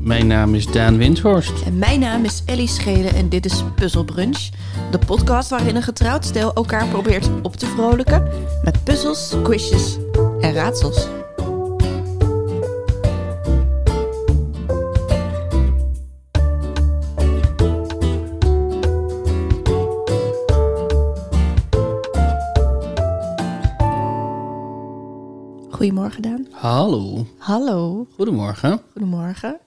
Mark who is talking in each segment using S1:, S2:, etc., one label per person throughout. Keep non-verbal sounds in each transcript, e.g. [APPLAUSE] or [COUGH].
S1: Mijn naam is Daan Windhorst.
S2: En mijn naam is Ellie Schelen en dit is Puzzle Brunch. De podcast waarin een getrouwd stel elkaar probeert op te vrolijken met puzzels, quizjes en raadsels. Goedemorgen Daan.
S1: Hallo.
S2: Hallo,
S1: Goedemorgen.
S2: goedemorgen.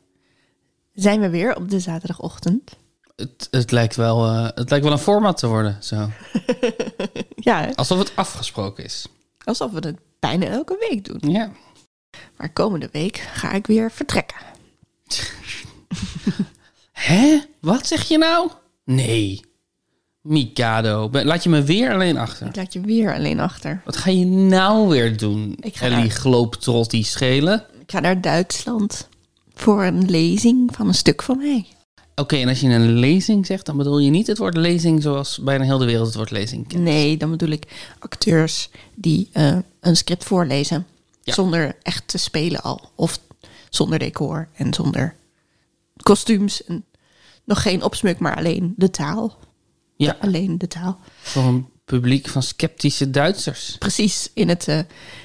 S2: Zijn we weer op de zaterdagochtend?
S1: Het, het, lijkt wel, eh, het lijkt wel een format te worden. Zo.
S2: Ja, hè?
S1: Alsof het afgesproken is.
S2: alsof we het bijna elke week doen.
S1: Ja.
S2: Maar komende week ga ik weer vertrekken.
S1: Hè? Wat zeg je nou? Nee. Mikado. Ben- Laat je me weer alleen achter.
S2: Ik laat je weer alleen achter.
S1: Wat ga je nou weer doen?
S2: Ik ga
S1: Ellie
S2: naar-
S1: Globetrottie schelen.
S2: Ik ga naar Duitsland voor een lezing van een stuk van mij.
S1: Oké, en als je een lezing zegt, dan bedoel je niet het woord lezing zoals bijna heel de wereld het woord lezing kent.
S2: Nee, dan bedoel ik acteurs die eh, een script voorlezen.
S1: Ja.
S2: Zonder echt te spelen al. Of zonder decor en zonder kostuums. En nog geen opsmuk, maar alleen de taal.
S1: Ja,
S2: Alleen de taal.
S1: voor een publiek van sceptische Duitsers.
S2: Precies, in het, eh,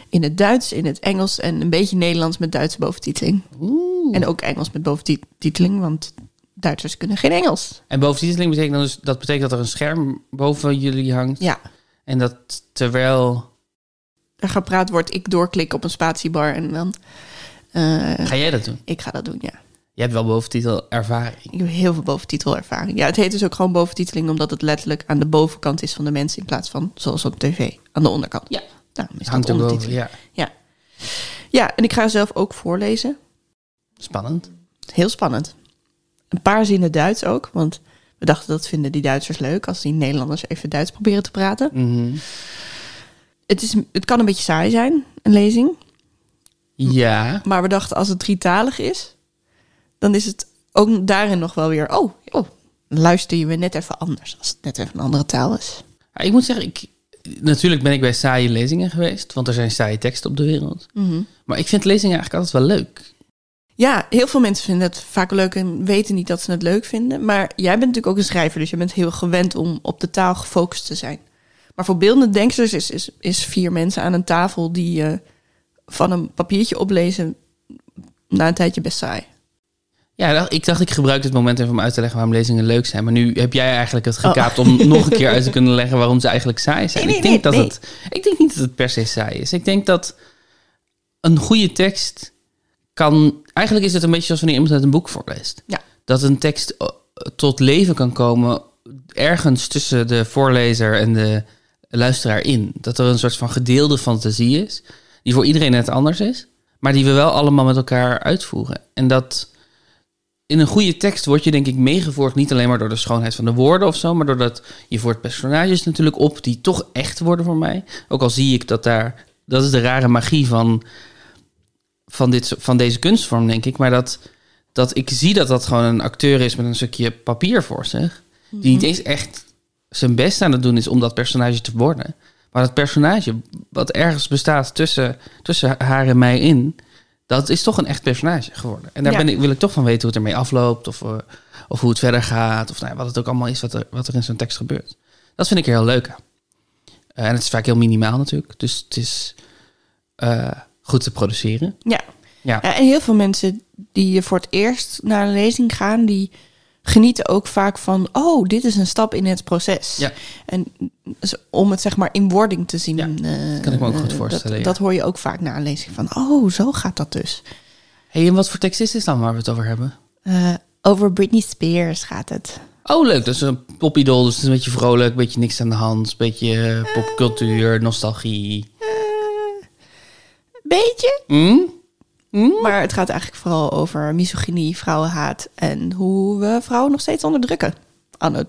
S2: in het Duits, in het Engels en een beetje Nederlands met Duitse boventiteling.
S1: Oeh.
S2: En ook Engels met boventiteling, want Duitsers kunnen geen Engels.
S1: En boventiteling betekent dan dus, dat betekent dat er een scherm boven jullie hangt.
S2: Ja,
S1: En dat terwijl.
S2: er gepraat wordt, ik doorklik op een spatiebar en dan... eh,
S1: Ga jij dat doen?
S2: ik ga dat doen, ja.
S1: Jij hebt wel boventitel ervaring.
S2: Ik heb heel veel boventitelervaring. Ja, het heet dus ook gewoon boventiteling, omdat het letterlijk aan de bovenkant is van de mensen in plaats van, zoals op tv, aan de onderkant.
S1: Ja.
S2: Nou, is
S1: Hangt
S2: dat
S1: erboven.
S2: ondertiteling.
S1: Ja.
S2: Ja. ja, en ik ga zelf ook voorlezen.
S1: Spannend.
S2: Heel spannend. Een paar zinnen Duits ook, want we dachten dat vinden die Duitsers leuk als die Nederlanders even Duits proberen te praten.
S1: Mhm.
S2: Het, is, het kan een beetje saai zijn, een lezing,
S1: Ja.
S2: maar we dachten als het drietalig is, dan is het ook daarin nog wel weer, oh, oh luister je weer net even anders als het net even een andere taal is.
S1: Ja, Ah, Ik moet zeggen, ik, natuurlijk ben ik bij saaie lezingen geweest, want er zijn saaie teksten op de wereld. Maar ik vind lezingen eigenlijk altijd wel leuk.
S2: Ja, heel veel mensen vinden het vaak leuk en weten niet dat ze het leuk vinden. Maar jij bent natuurlijk ook een schrijver, dus je bent heel gewend om op de taal gefocust te zijn. Maar voor beeldende denksters is, is, is vier mensen aan een tafel die eh, van een papiertje oplezen na een tijdje best saai.
S1: Ja, da- ik dacht ik gebruik dit moment even om uit te leggen waarom lezingen leuk zijn. Maar nu heb jij eigenlijk het gekaapt om nog een
S2: [LAUGHS]
S1: keer uit te kunnen leggen waarom ze eigenlijk saai zijn.
S2: Oh. Nee, nee,
S1: ik, denk
S2: nee,
S1: dat Het, ik denk niet dat het per se saai is. Ik denk dat een goede tekst kan... Eigenlijk is het een beetje zoals wanneer iemand uit een boek voorleest.
S2: Ja.
S1: Dat een tekst eh, tot leven kan komen ergens tussen de voorlezer en de luisteraar in. Dat er een soort van gedeelde fantasie is, die voor iedereen net anders is, maar die we wel allemaal met elkaar uitvoeren. En dat in een goede tekst word je denk ik meegevoerd, niet alleen maar door de schoonheid van de woorden of zo, maar doordat je voert personages natuurlijk op die toch echt worden voor mij. Ook al zie ik dat daar, dat is de rare magie van, van, dit, so- van deze kunstvorm denk ik, maar dat, dat ik zie dat dat gewoon een acteur is met een stukje papier voor zich, die niet eens echt zijn best aan het doen is om dat personage te worden. Maar dat personage wat ergens bestaat tussen, tussen haar en mij in, dat is toch een echt personage geworden. En daar
S2: Ja.
S1: ben ik, wil ik toch van weten hoe het ermee afloopt, of, eh, of hoe het verder gaat, of nou, ja, wat het ook allemaal is wat er, wat er in zo'n tekst gebeurt. Dat vind ik er heel leuk aan. Eh, en het is vaak heel minimaal natuurlijk, dus het is eh, goed te produceren.
S2: Ja.
S1: Ja.
S2: En heel veel mensen die voor het eerst naar een lezing gaan, die genieten ook vaak van, oh, dit is een stap in het proces.
S1: Ja.
S2: En z- om het zeg maar in wording te zien.
S1: Ja,
S2: eh,
S1: kan ik me ook
S2: eh,
S1: goed voorstellen,
S2: Dat,
S1: ja.
S2: dat hoor je ook vaak na een lezing van, oh, zo gaat dat dus.
S1: hey, en wat voor tekst is dit dan waar we het over hebben?
S2: Eh, over Britney Spears gaat het.
S1: Oh, leuk. Dat is een popidool. Dus het is een beetje vrolijk, een beetje niks aan de hand. Een beetje eh, popcultuur, nostalgie.
S2: Eh, beetje.
S1: Hm?
S2: Maar het gaat eigenlijk vooral over misogynie, vrouwenhaat en hoe we vrouwen nog steeds onderdrukken. Anno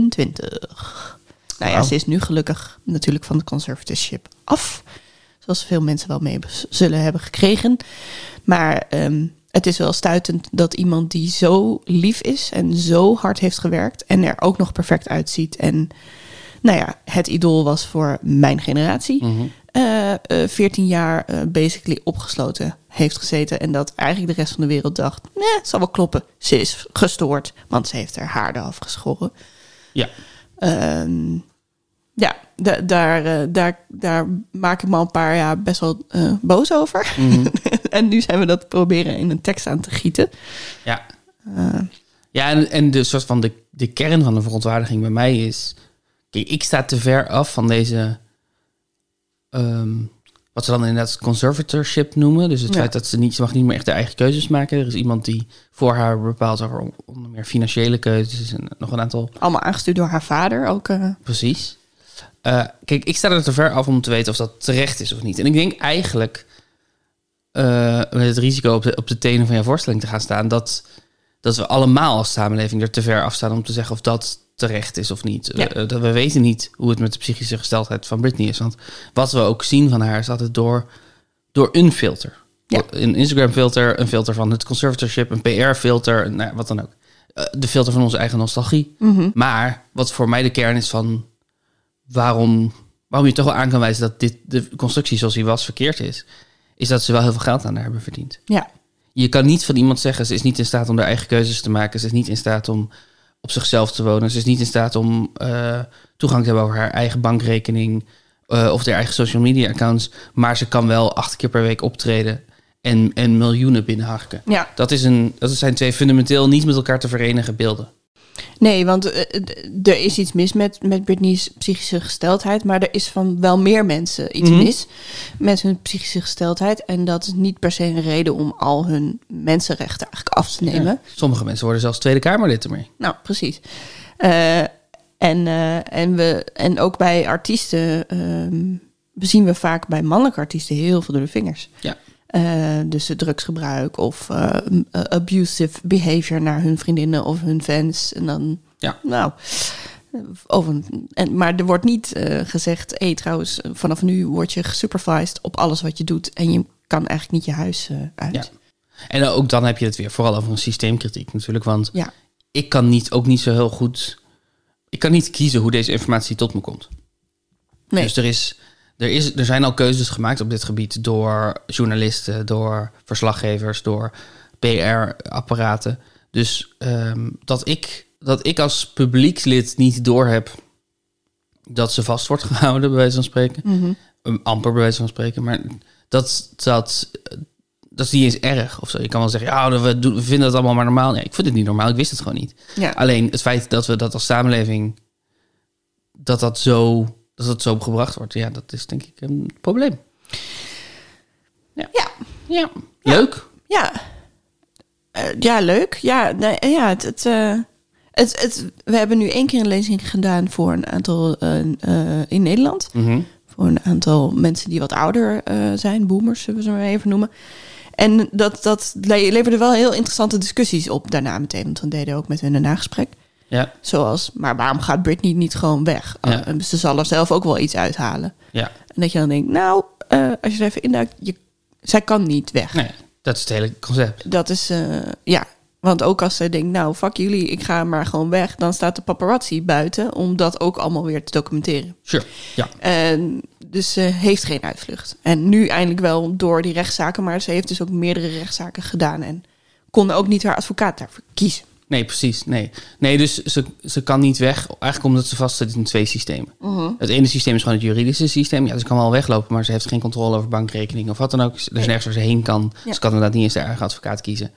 S2: 2022. Nou ja,
S1: Wauw.
S2: ze is nu gelukkig natuurlijk van de conservatorship af. Zoals veel mensen wel mee bes- zullen hebben gekregen. Maar ehm, het is wel stuitend dat iemand die zo lief is en zo hard heeft gewerkt. En er ook nog perfect uitziet. En nou ja, het idool was voor mijn generatie. eh, eh, 14 jaar eh, basically opgesloten heeft gezeten. En dat eigenlijk de rest van de wereld dacht, nee, het zal wel kloppen. Ze is gestoord, want ze heeft haar haarden afgeschoren.
S1: Ja.
S2: Ehm, ja, da- daar, eh, daar, daar maak ik me al een paar jaar best wel eh, boos over. [LAUGHS] en nu zijn we dat proberen in een tekst aan te gieten.
S1: Ja. ja, en, en de soort van de, de kern van de verontwaardiging bij mij is... Kijk, ik sta te ver af van deze... ehm, wat ze dan inderdaad conservatorship noemen. Dus het
S2: Ja.
S1: feit dat ze niet... Ze mag niet meer echt haar eigen keuzes maken. Er is iemand die voor haar bepaalt over on- onder meer financiële keuzes... en nog een aantal
S2: Allemaal aangestuurd door haar vader ook. eh.
S1: Precies. Eh, kijk, ik sta er te ver af om te weten of dat terecht is of niet. En ik denk eigenlijk, eh, met het risico op de, op de tenen van jouw voorstelling te gaan staan, dat, dat we allemaal als samenleving er te ver af staan om te zeggen of dat terecht is of niet.
S2: Ja.
S1: Eh, dat we weten niet hoe het met de psychische gesteldheid van Britney is. Want wat we ook zien van haar is altijd door, door een filter.
S2: Ja.
S1: Een Instagram-filter, een filter van het conservatorship, een PR-filter, nou, ja, wat dan ook. Eh, de filter van onze eigen nostalgie. Maar wat voor mij de kern is van waarom, waarom je toch wel aan kan wijzen dat dit, de constructie zoals die was verkeerd is, is dat ze wel heel veel geld aan haar hebben verdiend.
S2: ja,
S1: Je kan niet van iemand zeggen, ze is niet in staat om haar eigen keuzes te maken, ze is niet in staat om op zichzelf te wonen, ze is niet in staat om eh, toegang te hebben over haar eigen bankrekening eh, of haar eigen social media accounts, maar ze kan wel acht keer per week optreden en, en miljoenen binnenharken.
S2: ja.
S1: Dat, is een, dat zijn twee fundamenteel niet met elkaar te verenigen beelden.
S2: Nee, want eh, d- er is iets mis met, met Britney's psychische gesteldheid. Maar er is van wel meer mensen iets
S1: Mhm.
S2: mis met hun psychische gesteldheid. En dat is niet per se een reden om al hun mensenrechten eigenlijk af te nemen.
S1: Ja. Sommige mensen worden zelfs Tweede Kamerlid ermee.
S2: Nou, precies. Eh, en, eh, en, we, en ook bij artiesten ehm, zien we vaak bij mannelijke artiesten heel veel door de vingers.
S1: Ja.
S2: Eh, dus het drugsgebruik of eh, m- eh, abusive behavior naar hun vriendinnen of hun fans. En dan,
S1: Ja.
S2: nou, eh, over, en, maar er wordt niet eh, gezegd, hé hey, trouwens, eh, vanaf nu word je gesupervised op alles wat je doet. En je kan eigenlijk niet je huis eh, uit.
S1: Ja. En ook dan heb je het weer vooral over een systeemkritiek natuurlijk. Want
S2: ja.
S1: ik kan niet, ook niet zo heel goed... Ik kan niet kiezen hoe deze informatie tot me komt.
S2: Nee.
S1: Dus er, is, er, is, er zijn al keuzes gemaakt op dit gebied door journalisten, door verslaggevers, door PR-apparaten. Dus ehm, dat, ik, dat ik als publiekslid niet doorheb dat ze vast wordt gehouden, bij wijze van spreken. Een amper bij wijze van spreken. Maar dat, dat, dat is niet eens erg. Of zo. Je kan wel zeggen, ja, we, doen, we vinden dat allemaal maar normaal. Nee, ik vind het niet normaal. Ik wist het gewoon niet.
S2: ja.
S1: Alleen het feit dat we dat als samenleving dat dat zo dat dat zo gebracht wordt, ja, dat is denk ik een probleem.
S2: ja.
S1: Ja, leuk.
S2: Ja. Eh, ja, leuk. Ja, nee, eh, ja het, het, eh, het, het, we hebben nu één keer een lezing gedaan voor een aantal eh, eh, in Nederland.
S1: Mhm.
S2: Voor een aantal mensen die wat ouder eh, zijn, boomers zullen we ze maar even noemen. En dat, dat le- leverde wel heel interessante discussies op daarna meteen. Want dan deden we ook met hun een nagesprek.
S1: Ja,
S2: Zoals, maar waarom gaat Britney niet gewoon weg?
S1: Ja.
S2: Eh, ze zal er zelf ook wel iets uithalen.
S1: ja.
S2: En dat je dan denkt, nou, eh, als je er even induikt, je, zij kan niet weg.
S1: Nee, dat is het hele concept.
S2: Dat is, eh, ja. Want ook als zij denkt, nou, fuck jullie, ik ga maar gewoon weg. Dan staat de paparazzi buiten om dat ook allemaal weer te documenteren.
S1: Sure. Ja,
S2: En dus ze heeft geen uitvlucht. En nu eindelijk wel door die rechtszaken. Maar ze heeft dus ook meerdere rechtszaken gedaan. En kon ook niet haar advocaat daarvoor kiezen.
S1: nee, precies. Nee, nee dus ze, ze kan niet weg. Eigenlijk omdat ze vastzit in twee systemen. Het ene systeem is gewoon het juridische systeem. Ja, ze kan wel weglopen, maar ze heeft geen controle over bankrekening of wat dan ook. Er is nergens waar ze heen kan.
S2: Ja.
S1: Ze kan inderdaad niet eens haar eigen advocaat kiezen.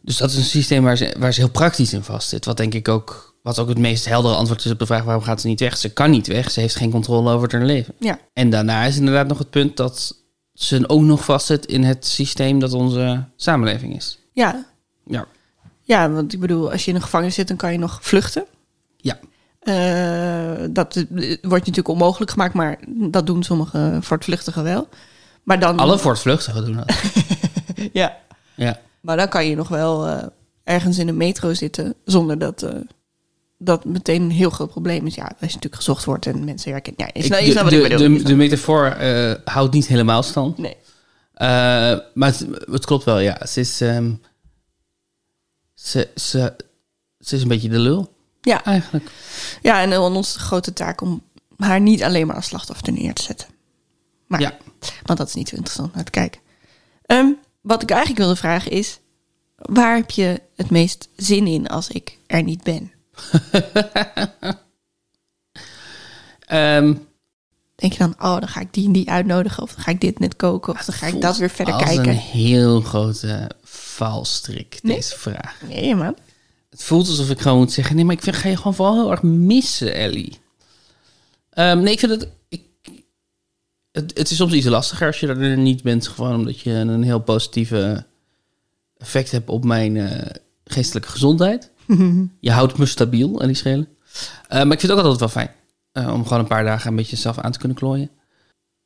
S1: Dus dat is een systeem waar ze, waar ze heel praktisch in vast zit. Wat denk ik ook, wat ook het meest heldere antwoord is op de vraag waarom gaat ze niet weg. Ze kan niet weg, ze heeft geen controle over haar leven.
S2: Ja,
S1: En daarna is inderdaad nog het punt dat ze ook nog vastzit in het systeem dat onze samenleving is.
S2: ja.
S1: Ja,
S2: ja want ik bedoel, als je in een gevangenis zit, dan kan je nog vluchten.
S1: ja.
S2: Eh, dat eh, wordt natuurlijk onmogelijk gemaakt, maar dat doen sommige voortvluchtigen wel. Maar dan,
S1: alle voortvluchtigen doen
S2: [LAUGHS]
S1: dat.
S2: ja,
S1: ja.
S2: Maar dan kan je nog wel eh, ergens in een metro zitten zonder dat eh, dat meteen een heel groot probleem is. Ja, als je natuurlijk gezocht wordt en mensen werken. Ja, je snapt je
S1: de,
S2: snapt nou wat
S1: de,
S2: ik bedoel. Je
S1: De,
S2: snapt-
S1: de metafoor eh, houdt niet helemaal stand.
S2: nee.
S1: Eh, maar het, het klopt wel, ja. Ze is, ehm, ze, ze, ze is een beetje de lul,
S2: Ja.
S1: eigenlijk.
S2: ja, en dan onze grote taak om haar niet alleen maar als slachtoffer neer te zetten. Maar,
S1: Ja.
S2: Want dat is niet zo interessant om naar te kijken. Ehm, wat ik eigenlijk wilde vragen is... waar heb je het meest zin in als ik er niet ben?
S1: Ehm,
S2: Denk je dan, oh, dan ga ik die en die uitnodigen... of dan ga ik dit net koken... of dan ga ik dat weer verder
S1: als
S2: kijken?
S1: een heel grote valstrik,
S2: Nee.
S1: deze vraag.
S2: Nee, man.
S1: Het voelt alsof ik gewoon moet zeggen... nee, maar ik vind, ga je gewoon vooral heel erg missen, Ellie. Ehm, nee, ik vind het, ik, het... Het is soms iets lastiger als je er niet bent... gewoon omdat je een heel positieve effect hebt op mijn eh, geestelijke gezondheid. je houdt me stabiel en die schelen. Eh, maar ik vind het ook altijd wel fijn eh, om gewoon een paar dagen een beetje zelf aan te kunnen klooien.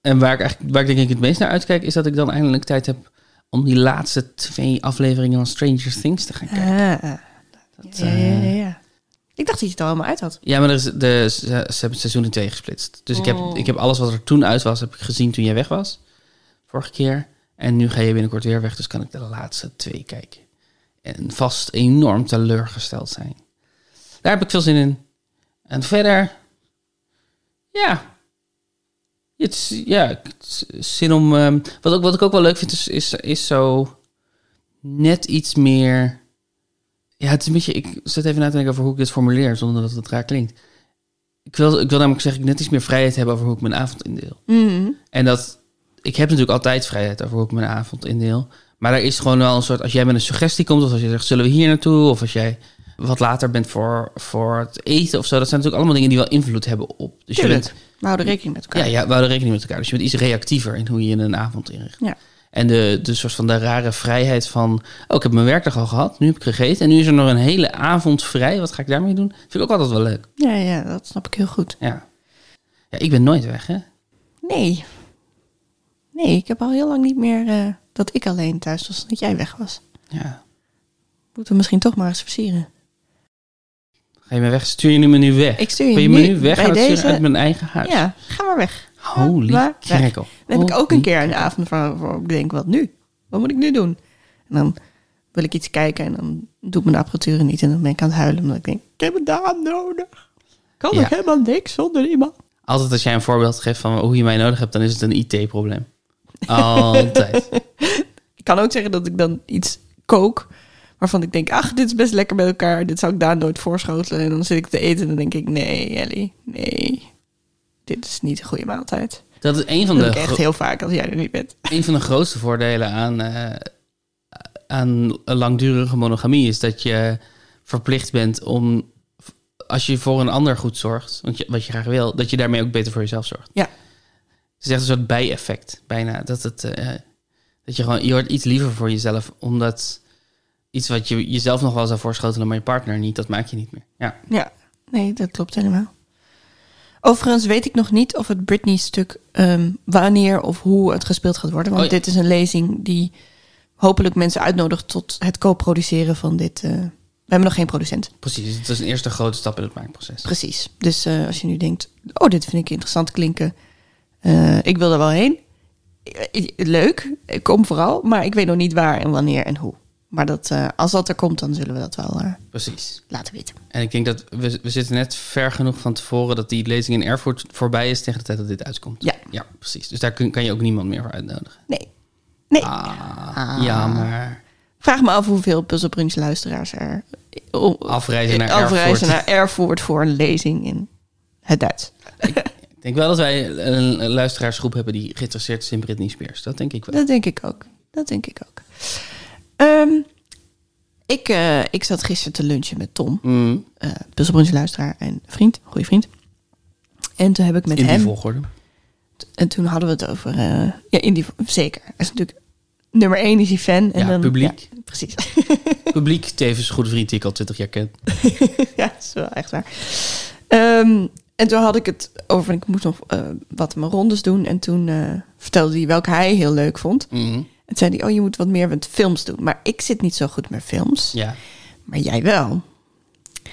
S1: En waar ik, eigenlijk, waar ik denk ik het meest naar uitkijk... is dat ik dan eindelijk tijd heb om die laatste twee afleveringen van Stranger Things te gaan kijken.
S2: Ah, ja, ja,
S1: eh,
S2: ja, ja. Ik dacht dat je het al helemaal uit had.
S1: Ja, maar er is de, ze, ze hebben het seizoen in twee gesplitst. Dus ik, heb, ik heb alles wat er toen uit was, heb ik gezien toen jij weg was. Vorige keer. En nu ga je binnenkort weer weg, dus kan ik de laatste twee kijken. En vast enorm teleurgesteld zijn. Daar heb ik veel zin in. En verder... Ja. Het is, ja, het is zin om... ehm, wat, ook, wat ik ook wel leuk vind, is, is, is zo net iets meer... Ja, het is een beetje. Ik zet even na te denken over hoe ik dit formuleer, zonder dat het raar klinkt. Ik wil, ik wil namelijk zeggen, ik net iets meer vrijheid hebben over hoe ik mijn avond indeel.
S2: Mhm.
S1: En dat. Ik heb natuurlijk altijd vrijheid over hoe ik mijn avond indeel. Maar er is gewoon wel een soort. Als jij met een suggestie komt, of als je zegt, zullen we hier naartoe? Of als jij wat later bent voor, voor het eten of zo. Dat zijn natuurlijk allemaal dingen die wel invloed hebben op. Dus
S2: Tuurlijk.
S1: je bent.
S2: We houden rekening met elkaar.
S1: Ja, ja, we houden rekening met elkaar. Dus je bent iets reactiever in hoe je een avond inricht.
S2: Ja.
S1: En de, de soort van de rare vrijheid van... Oh, ik heb mijn werkdag al gehad. Nu heb ik gegeten. En nu is er nog een hele avond vrij. Wat ga ik daarmee doen? Vind ik ook altijd wel leuk.
S2: Ja, ja, dat snap ik heel goed.
S1: Ja. Ja, ik ben nooit weg, hè?
S2: Nee. Nee, ik heb al heel lang niet meer eh, dat ik alleen thuis was, dat jij weg was.
S1: Ja.
S2: Moeten we misschien toch maar eens versieren.
S1: Ga je me weg? Stuur je nu me nu weg?
S2: Ik stuur je
S1: ben je
S2: nu
S1: me nu weg
S2: bij
S1: aan het
S2: deze-
S1: sturen uit mijn eigen huis?
S2: Ja, ga maar weg.
S1: Holy
S2: Maar weg.
S1: krekel.
S2: Dan heb ik ook een keer een avond van, van ik denk, wat nu? Wat moet ik nu doen? En dan wil ik iets kijken en dan doet mijn apparatuur niet. En dan ben ik aan het huilen omdat ik denk, ik heb een daan nodig. Kan
S1: Ja.
S2: ik helemaal niks zonder iemand?
S1: Altijd als jij een voorbeeld geeft van hoe je mij nodig hebt... dan is het een
S2: [LAUGHS]
S1: IT-probleem. Altijd.
S2: Ik kan ook zeggen dat ik dan iets kook waarvan ik denk, ach, dit is best lekker met elkaar. Dit zou ik daar nooit voorschotelen. En dan zit ik te eten en dan denk ik, nee, Ellie, nee. Dit is niet een goede maaltijd.
S1: Dat is een van
S2: Dat
S1: de...
S2: doe ik echt
S1: gro-
S2: heel vaak als jij er niet bent.
S1: een van de grootste voordelen aan, eh, aan een langdurige monogamie is dat je verplicht bent om, als je voor een ander goed zorgt, want je, wat je graag wil, dat je daarmee ook beter voor jezelf zorgt.
S2: Ja.
S1: Het is echt een soort bijeffect, bijna. Dat, het, eh, dat je gewoon, je wordt iets liever voor jezelf, omdat iets wat je jezelf nog wel zou voorschotelen, maar je partner niet, dat maak je niet meer. Ja.
S2: Ja, nee, dat klopt helemaal. Overigens weet ik nog niet of het Britney-stuk ehm, wanneer of hoe het gespeeld gaat worden. Want
S1: Oh ja.
S2: dit is een lezing die hopelijk mensen uitnodigt tot het co-produceren van dit. eh, We hebben nog geen producent.
S1: Precies, Dus het is een eerste grote stap in het maakproces.
S2: Precies. Dus eh, als je nu denkt, oh, dit vind ik interessant klinken. eh, ik wil er wel heen. Eh, eh, Leuk, ik kom vooral. Maar ik weet nog niet waar en wanneer en hoe. Maar dat, eh, als dat er komt, dan zullen we dat wel eh,
S1: Precies.
S2: laten weten.
S1: En ik denk dat we, we zitten net ver genoeg van tevoren dat die lezing in Erfurt voorbij is tegen de tijd dat dit uitkomt.
S2: Ja.
S1: Ja, precies. Dus daar kun, kan je ook niemand meer voor uitnodigen.
S2: Nee. Nee.
S1: Ah, ja, maar
S2: Vraag me af hoeveel Puzzlebrunch luisteraars er o-
S1: Afreizen naar
S2: afreizen
S1: Erfurt.
S2: naar Erfurt voor een lezing in het Duits.
S1: ik denk wel dat wij een een luisteraarsgroep hebben die geïnteresseerd is in Britney Spears. Dat denk ik wel.
S2: Dat denk ik ook. Dat denk ik ook. Ehm, ik, eh, ik zat gisteren te lunchen met Tom,
S1: Mm,
S2: eh Puzzlebrunch luisteraar en vriend, goede vriend. En toen heb ik met
S1: in die
S2: hem
S1: volgorde.
S2: en toen hadden we het over eh, ja, in die zeker. Hij is natuurlijk nummer één is hij fan en
S1: Ja,
S2: dan
S1: publiek.
S2: ja, precies.
S1: Publiek, tevens een goede vriend die ik al twintig jaar ken.
S2: [LAUGHS] ja, dat is wel echt waar. Ehm, en toen had ik het over, ik moest nog eh, wat mijn rondes doen. En toen eh, vertelde hij welke hij heel leuk vond.
S1: Mm,
S2: En toen zei hij, oh, je moet wat meer met films doen. Maar ik zit niet zo goed met films.
S1: ja.
S2: Maar jij wel.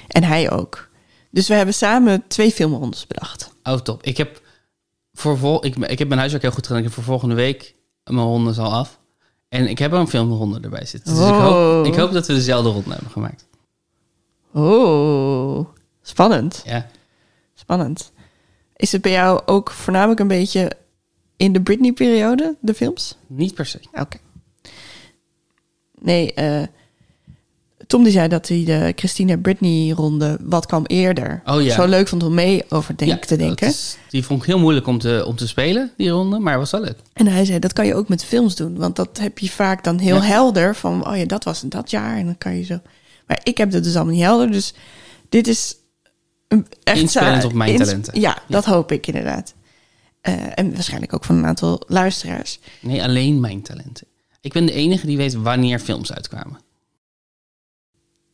S2: En hij ook. Dus we hebben samen twee filmrondes bedacht.
S1: Oh, top. Ik heb, voor vol, ik, ik heb mijn huiswerk heel goed gedaan. Ik heb voor volgende week mijn ronde al af. En ik heb er een filmronde erbij zitten. Dus ik, hoop,
S2: Wow.
S1: ik hoop dat we dezelfde ronde hebben gemaakt.
S2: Oh, spannend.
S1: Ja.
S2: Spannend. Is het bij jou ook voornamelijk een beetje in de Britney-periode, de films?
S1: Niet per se.
S2: Oké. Nee, eh, Tom die zei dat hij de Christina Britney-ronde wat kwam eerder.
S1: Oh ja.
S2: Zo leuk vond om mee over denk-
S1: Ja,
S2: te denken.
S1: dat is- die vond ik heel moeilijk om te, om te spelen, die ronde, maar was wel leuk.
S2: En hij zei, dat kan je ook met films doen. Want dat heb je vaak dan heel
S1: Ja.
S2: helder van, oh ja, dat was dat jaar. En dan kan je zo... Maar ik heb dat dus allemaal niet helder. Dus dit is een- echt...
S1: Inspelend
S2: za-
S1: op mijn
S2: ins-
S1: talenten.
S2: Ja, dat hoop ik inderdaad. Eh, en waarschijnlijk ook van een aantal luisteraars.
S1: Nee, alleen mijn talenten. Ik ben de enige die weet wanneer films uitkwamen.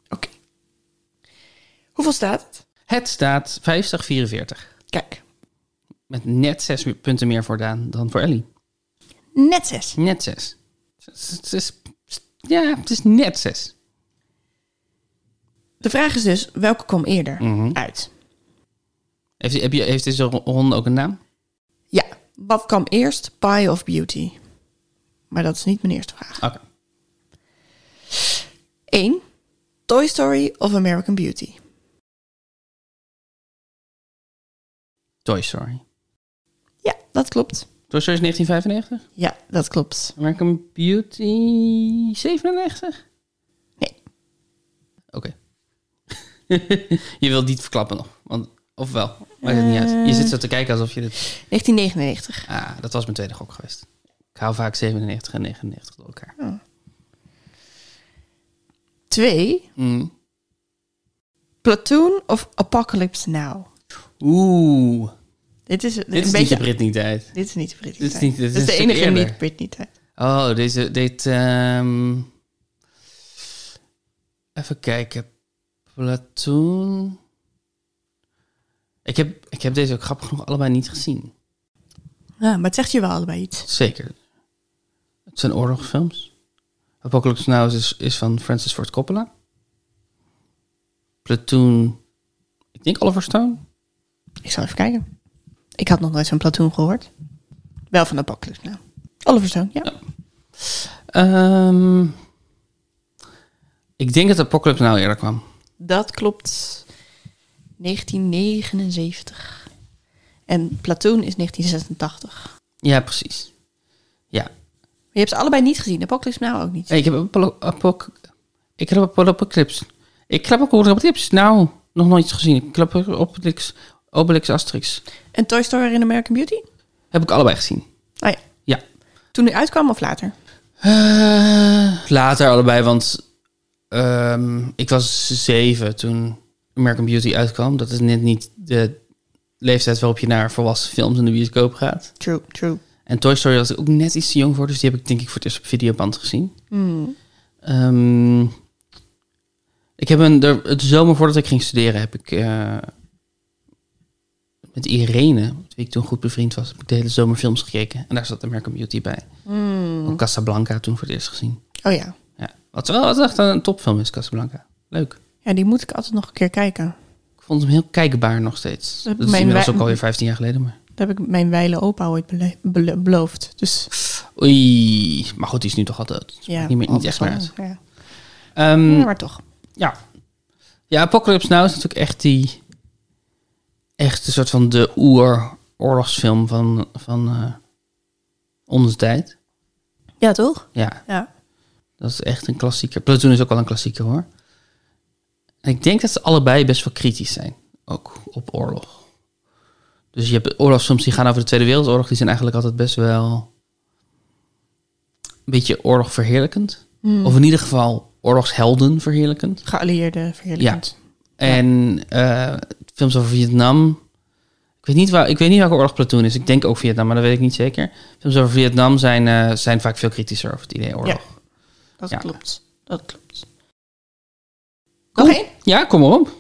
S2: Oké. Hoeveel staat het?
S1: Het staat 50-44.
S2: Kijk,
S1: Met net zes punten meer voor Daan dan voor Ellie.
S2: net zes.
S1: Net zes. Het is- het is- ja, het is net zes.
S2: De vraag is dus, welke kwam eerder
S1: Mhm.
S2: uit?
S1: Heeft, heb je, heeft deze ronde ook een naam?
S2: Ja, wat kwam eerst? Pie of Beauty? Maar dat is niet mijn eerste vraag.
S1: Oké.
S2: 1. Toy Story of American Beauty?
S1: Toy Story.
S2: Ja, dat klopt.
S1: Toy Story is 1995.
S2: Ja, dat klopt.
S1: American Beauty 97?
S2: Nee.
S1: Oké. [LAUGHS] je wilt niet verklappen nog. Want, of wel? Maakt het niet uit. Je zit zo te kijken alsof je dit...
S2: 1999.
S1: Ah, dat was mijn tweede gok geweest. Ik hou vaak 97 en 99 door elkaar.
S2: Oh. 2.
S1: Mm.
S2: Platoon of Apocalypse Now?
S1: Oeh.
S2: Dit is, een
S1: Dit is niet
S2: beetje...
S1: de Britney-tijd.
S2: dit is niet de Britney
S1: Dit is
S2: tijd.
S1: niet- dit is
S2: Dit is
S1: een
S2: de
S1: stuk
S2: enige
S1: eerder.
S2: niet Britney tijd.
S1: Oh, deze... Dit, ehm, even kijken. Platoon... Ik heb, ik heb deze ook grappig genoeg allebei niet gezien.
S2: Ja, Ah, maar het zegt je wel allebei iets.
S1: Zeker. Het zijn oorlogsfilms. Apocalypse Now is, is van Francis Ford Coppola. Platoon, ik denk Oliver Stone.
S2: Ik zal even kijken. Ik had nog nooit zo'n Platoon gehoord. Wel van Apocalypse Now. Oliver Stone, ja.
S1: Ehm, ik denk dat Apocalypse Now eerder kwam.
S2: Dat klopt. 1979. En Platoon is 1986.
S1: Ja, precies. Ja.
S2: Maar je hebt ze allebei niet gezien. Apocalypse nou ook niet.
S1: Hey, ik heb Apollo- Apoc... Ik heb Apocalypse. Ik klap ook op tips. Nou, nog nooit gezien. Ik klap op Obelix, Obelix Asterix.
S2: En Toy Story en American Beauty?
S1: Heb ik allebei gezien.
S2: Oh ja.
S1: Ja.
S2: Toen die uitkwam of later?
S1: Eh, later allebei, want ehm, ik was zeven toen American Beauty uitkwam. Dat is net niet de leeftijd waarop je naar volwassen films in de bioscoop gaat.
S2: True, true.
S1: En Toy Story was ik ook net iets te jong voor, dus die heb ik denk ik voor het eerst op videoband gezien.
S2: Hmm.
S1: Ehm, ik heb een, de, het zomer voordat ik ging studeren heb ik eh, met Irene, met wie ik toen goed bevriend was, heb ik de hele zomer films gekeken. En daar zat American Beauty bij.
S2: Hmm.
S1: Ook Casablanca toen voor het eerst gezien.
S2: Oh ja.
S1: Ja. Wat wel wat echt een topfilm is, Casablanca. Leuk.
S2: Ja, die moet ik altijd nog een keer kijken.
S1: Ik vond hem heel kijkbaar nog steeds.
S2: Mijn
S1: Dat is inmiddels
S2: wij-
S1: ook alweer 15 jaar geleden. Maar...
S2: Dat heb ik mijn wijle opa ooit bele- bele- beloofd. Dus
S1: Oei, maar goed, die is nu toch al dood. Dus
S2: ja.
S1: maakt niet, meer, niet
S2: altijd
S1: echt meer
S2: wel,
S1: uit.
S2: Ja.
S1: Ehm,
S2: Ja, maar toch.
S1: Ja. Ja, Apocalypse Now is natuurlijk echt die... Echt een soort van de oer-oorlogsfilm van, van eh, onze tijd.
S2: Ja, toch?
S1: Ja,
S2: Ja.
S1: dat is echt een klassieker. Platoon is ook wel een klassieker hoor. En ik denk dat ze allebei best wel kritisch zijn. Ook op oorlog. Dus je hebt oorlogsfilms die gaan over de Tweede Wereldoorlog. Die zijn eigenlijk altijd best wel... Een beetje oorlog verheerlijkend. Of in ieder geval oorlogshelden verheerlijkend.
S2: Geallieerde verheerlijkend.
S1: En eh, films over Vietnam. Ik weet, niet waar, ik weet niet welke oorlog Platoon is. Ik denk ook Vietnam, maar dat weet ik niet zeker. Films over Vietnam zijn, eh, zijn vaak veel kritischer over het idee oorlog.
S2: Dat
S1: Ja.
S2: klopt. Dat klopt.
S1: Cool.
S2: Nog één?
S1: Ja, kom maar op.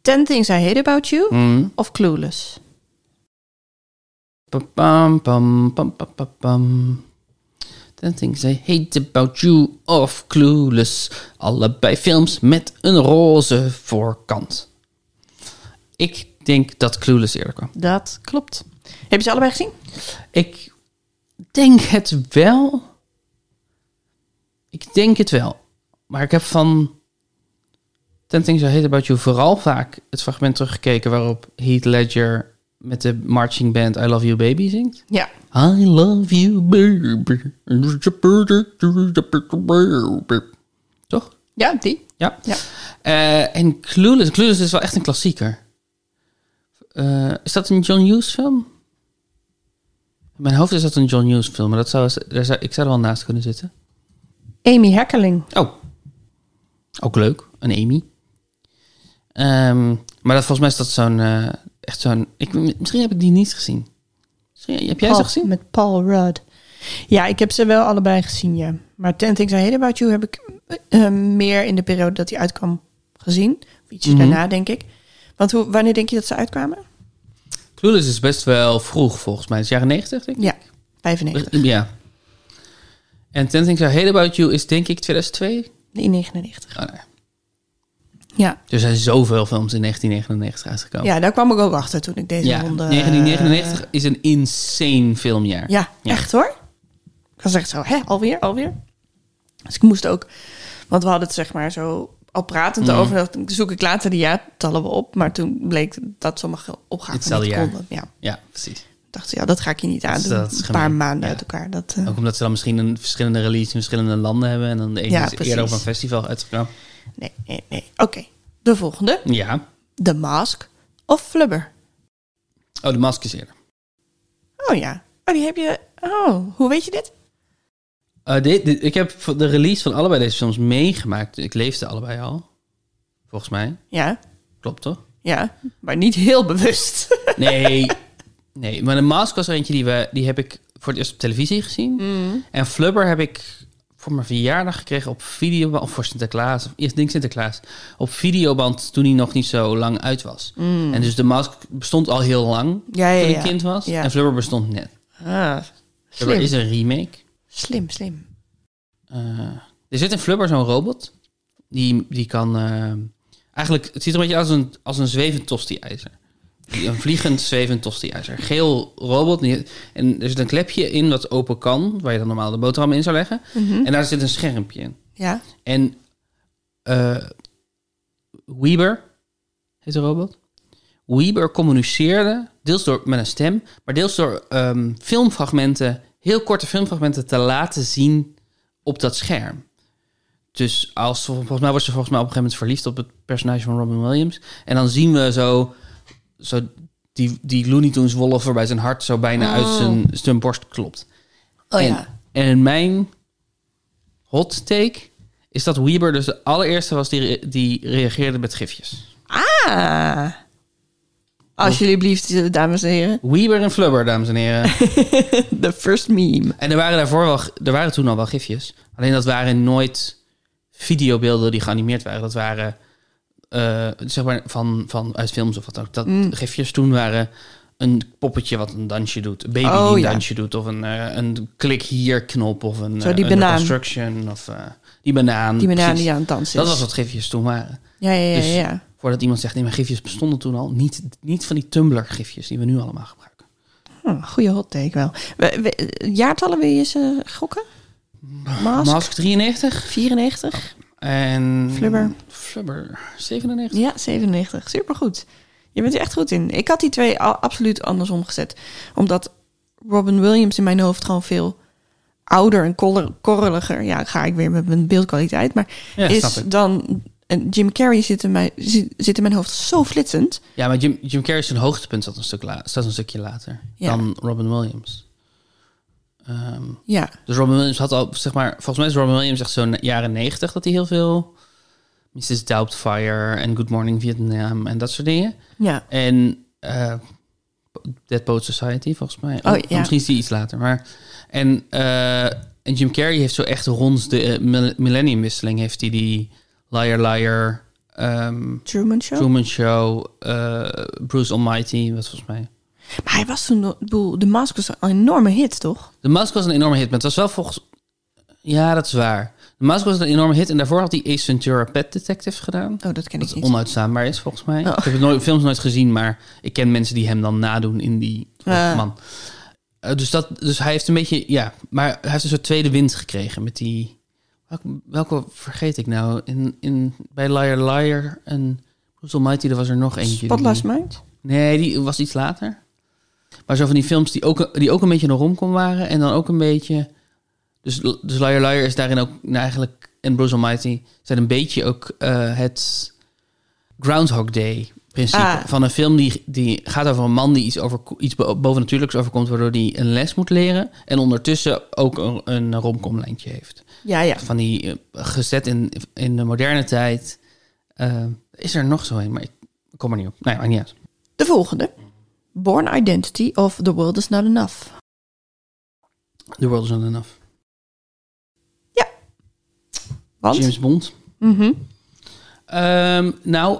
S2: Ten Things I Hate About You
S1: Mm.
S2: of Clueless?
S1: Pam, pam, pam, pam, pam, pam, pam. Ten things I hate about you of clueless. Allebei films met een roze voorkant. Ik denk dat clueless eerder kwam.
S2: Dat klopt. Heb je ze allebei gezien?
S1: Ik denk het wel. Ik denk het wel. Maar ik heb van Ten Things I Hate About You vooral vaak het fragment teruggekeken waarop Heath Ledger met de marching band I Love You Baby zingt.
S2: Ja.
S1: I love you baby. Toch?
S2: Ja, die.
S1: Ja.
S2: Ja.
S1: Eh, en Clueless. Clueless is wel echt een klassieker. Eh, is dat een John Hughes film? In mijn hoofd is dat een John Hughes film. Maar dat zou, daar zou, ik zou er wel naast kunnen zitten.
S2: Amy Heckerling.
S1: Oh. Ook leuk. Een Amy. Ehm, maar dat, volgens mij is dat zo'n... eh, echt zo'n... Ik, misschien heb ik die niet gezien. Misschien, heb jij ze
S2: Paul-
S1: gezien?
S2: Met Paul Rudd. Ja, ik heb ze wel allebei gezien, ja. Maar Ten Things I Hate About You heb ik eh, meer in de periode dat die uitkwam gezien. Of ietsje
S1: Mhm.
S2: daarna, denk ik. Want hoe, wanneer denk je dat ze uitkwamen?
S1: Clueless is best wel vroeg volgens mij. Het is jaren 90 denk ik.
S2: Ja, 95.
S1: Ja. En Ten Things I Hate About You is denk ik 2002.
S2: In 99.
S1: Oh, nee.
S2: Ja.
S1: Er zijn zoveel films in 1999 uitgekomen.
S2: ja, daar kwam ik ook achter toen ik deze
S1: Oh. Ja,
S2: ronde... eh,
S1: 1999 is een insane filmjaar.
S2: Ja,
S1: Ja.
S2: echt hoor. Ik was echt zo, hè, alweer, alweer. Dus ik moest ook, want we hadden het zeg maar zo al pratend
S1: Mm.
S2: over, dat zoek ik later de jaartallen wel op, maar toen bleek dat sommige opgaven
S1: Hetzelfde
S2: niet
S1: jaar.
S2: konden. Ja,
S1: Ja, precies.
S2: ik dacht ja, dat ga ik je niet aan doen.
S1: dat is
S2: Een paar
S1: gemeen,
S2: maanden
S1: ja. Oh.
S2: uit elkaar. Dat, eh,
S1: Ook omdat ze dan misschien een verschillende release in verschillende landen hebben. En dan de ene
S2: Ja,
S1: is
S2: precies.
S1: eerder op een festival uitgekomen.
S2: Nee, nee, nee. Oké, de volgende.
S1: Ja.
S2: The Mask of Flubber.
S1: Oh, de mask is eerder.
S2: Oh ja. Oh, die heb je... Oh, hoe weet je dit?
S1: Eh, dit, dit- ik heb de release van allebei deze films meegemaakt. Ik leefde allebei al. Volgens mij.
S2: Ja,
S1: Klopt toch?
S2: ja. Maar niet heel bewust.
S1: Nee. nee, maar de mask was er eentje die, we, die heb ik voor het eerst op televisie gezien.
S2: Mm.
S1: En Flubber heb ik voor mijn verjaardag gekregen op video of voor Sinterklaas, of eerst ding Sinterklaas, op videoband toen hij nog niet zo lang uit was. En dus de mask bestond al heel lang
S2: Ja, ja,
S1: toen ik
S2: Mm. ja.
S1: kind was.
S2: Ja.
S1: En Flubber bestond net.
S2: [LAUGHS] Ah,
S1: Flubber
S2: slim.
S1: is een remake.
S2: Slim, slim.
S1: Eh, er zit in Flubber zo'n robot. Die, die kan. eh, eigenlijk, het ziet er een beetje uit als een, als een zwevend tosti-ijzer. Die- Een vliegend [LAUGHS] zwevend tosti-ijzer. Geel robot. die- En er zit een klepje in wat open kan. Waar je dan normaal de boterham in zou leggen. En daar zit een schermpje in.
S2: Ja.
S1: En eh, Weber, heet de robot. Weber communiceerde, deels door, met een stem, maar deels door ehm, filmfragmenten, heel korte filmfragmenten te laten zien op dat scherm. Dus als, volgens mij wordt ze volgens mij op een gegeven moment verliefd op het personage van Robin Williams. En dan zien we zo, zo die, die Looney Tunes wolf waarbij zijn hart zo bijna uit zijn, zijn borst klopt.
S2: Oh
S1: en,
S2: ja.
S1: en mijn hot take is dat Weber dus de allereerste was die, re- die reageerde met gifjes.
S2: Ah. Alsjeblieft, eh, dames en heren.
S1: Weber en Flubber, dames en
S2: [LAUGHS]
S1: heren.
S2: The first meme.
S1: en er waren daarvoor wel, g- er waren toen al wel gifjes. Alleen dat waren nooit videobeelden die geanimeerd waren. Dat waren eh, zeg maar van, van uit films of wat ook. Dat
S2: Mm.
S1: gifjes toen waren een poppetje wat een dansje doet, een baby
S2: Oh,
S1: die een
S2: ja.
S1: dansje doet, of een, eh, een klik hier knop of een,
S2: Zo
S1: eh,
S2: die
S1: under
S2: banaan.
S1: construction of eh, die banaan.
S2: Die banaan
S1: precies.
S2: die aan het dansen
S1: Dat
S2: is.
S1: was wat gifjes toen waren.
S2: Ja, ja, ja.
S1: Dus-
S2: ja.
S1: Voordat iemand zegt, nee, maar gifjes bestonden toen al. Niet, niet van die Tumblr-gifjes die we nu allemaal gebruiken.
S2: Hm, goeie hot take wel. We- we- eh, jaartallen wil je ze gokken? Mask,
S1: Mask 93
S2: 94?
S1: en...
S2: Flubber.
S1: Flubber 97.
S2: Ja, 97. Supergoed. Je bent er echt goed in. Ik had die twee al absoluut andersom gezet. Omdat Robin Williams in mijn hoofd gewoon veel ouder en koller- korreliger... Ja, ga ik weer met mijn beeldkwaliteit. Maar
S1: Ja,
S2: is
S1: snap ik.
S2: dan... En Jim Carrey zit in, mijn, zit, zit in mijn hoofd zo flitsend.
S1: Ja, maar Jim, Jim Carrey's zijn hoogtepunt staat een, stuk la- staat een stukje later
S2: Ja.
S1: dan Robin Williams. Ehm,
S2: Ja,
S1: dus Robin Williams had al, zeg maar... Volgens mij is Robin Williams echt zo'n jaren 90 dat hij heel veel... Mrs. Doubtfire en Good Morning Vietnam en dat soort dingen.
S2: ja.
S1: En eh, Dead Poet Society, volgens mij.
S2: Oh,
S1: Oh,
S2: ja.
S1: Misschien is die iets later. Maar, en, eh, en Jim Carrey heeft zo echt rond de eh, mil- millenniumwisseling... heeft hij die Liar Liar, ehm,
S2: Truman Show.
S1: Truman Show, eh, Bruce Almighty... Wat volgens mij...
S2: Maar hij was toen, nog- ik bedoel, de Mask was een enorme hit, toch?
S1: The Mask was een enorme hit, maar het was wel volgens... Ja, dat is waar. The Mask was een enorme hit en daarvoor had hij Ace Ventura Pet Detective gedaan.
S2: Oh, dat ken
S1: Dat
S2: ik niet.
S1: onuitstaanbaar is, volgens mij.
S2: Oh.
S1: Ik heb het nooit, films nooit gezien, maar ik ken mensen die hem dan nadoen in die oh,
S2: Ja.
S1: man. Eh, dus, dat, dus hij heeft een beetje, ja, maar hij heeft een soort tweede wind gekregen met die... Welke, welke vergeet ik nou? In, in, bij Liar Liar en Bruce Almighty, er was er nog eentje. die-
S2: Spotlight Mind?
S1: Nee, die was iets later. Maar zo van die films die ook, die ook een beetje een romcom waren. En dan ook een beetje... Dus, dus Liar Liar is daarin ook nou eigenlijk... En Bruce Almighty zijn een beetje ook eh, het Groundhog Day principe.
S2: Ah.
S1: Van een film die, die gaat over een man die iets, over, iets bo- bovennatuurlijks overkomt... waardoor hij een les moet leren. En ondertussen ook een, een romcom lijntje heeft.
S2: Ja, ja.
S1: Van die eh, gezet in, in de moderne tijd. Eh, is er nog zo een, maar ik kom er niet op. Nou ja, maakt niet uit.
S2: De volgende. Born Identity of The World Is Not Enough.
S1: The World Is Not Enough.
S2: Want?
S1: James Bond.
S2: Mhm.
S1: Ehm, nou,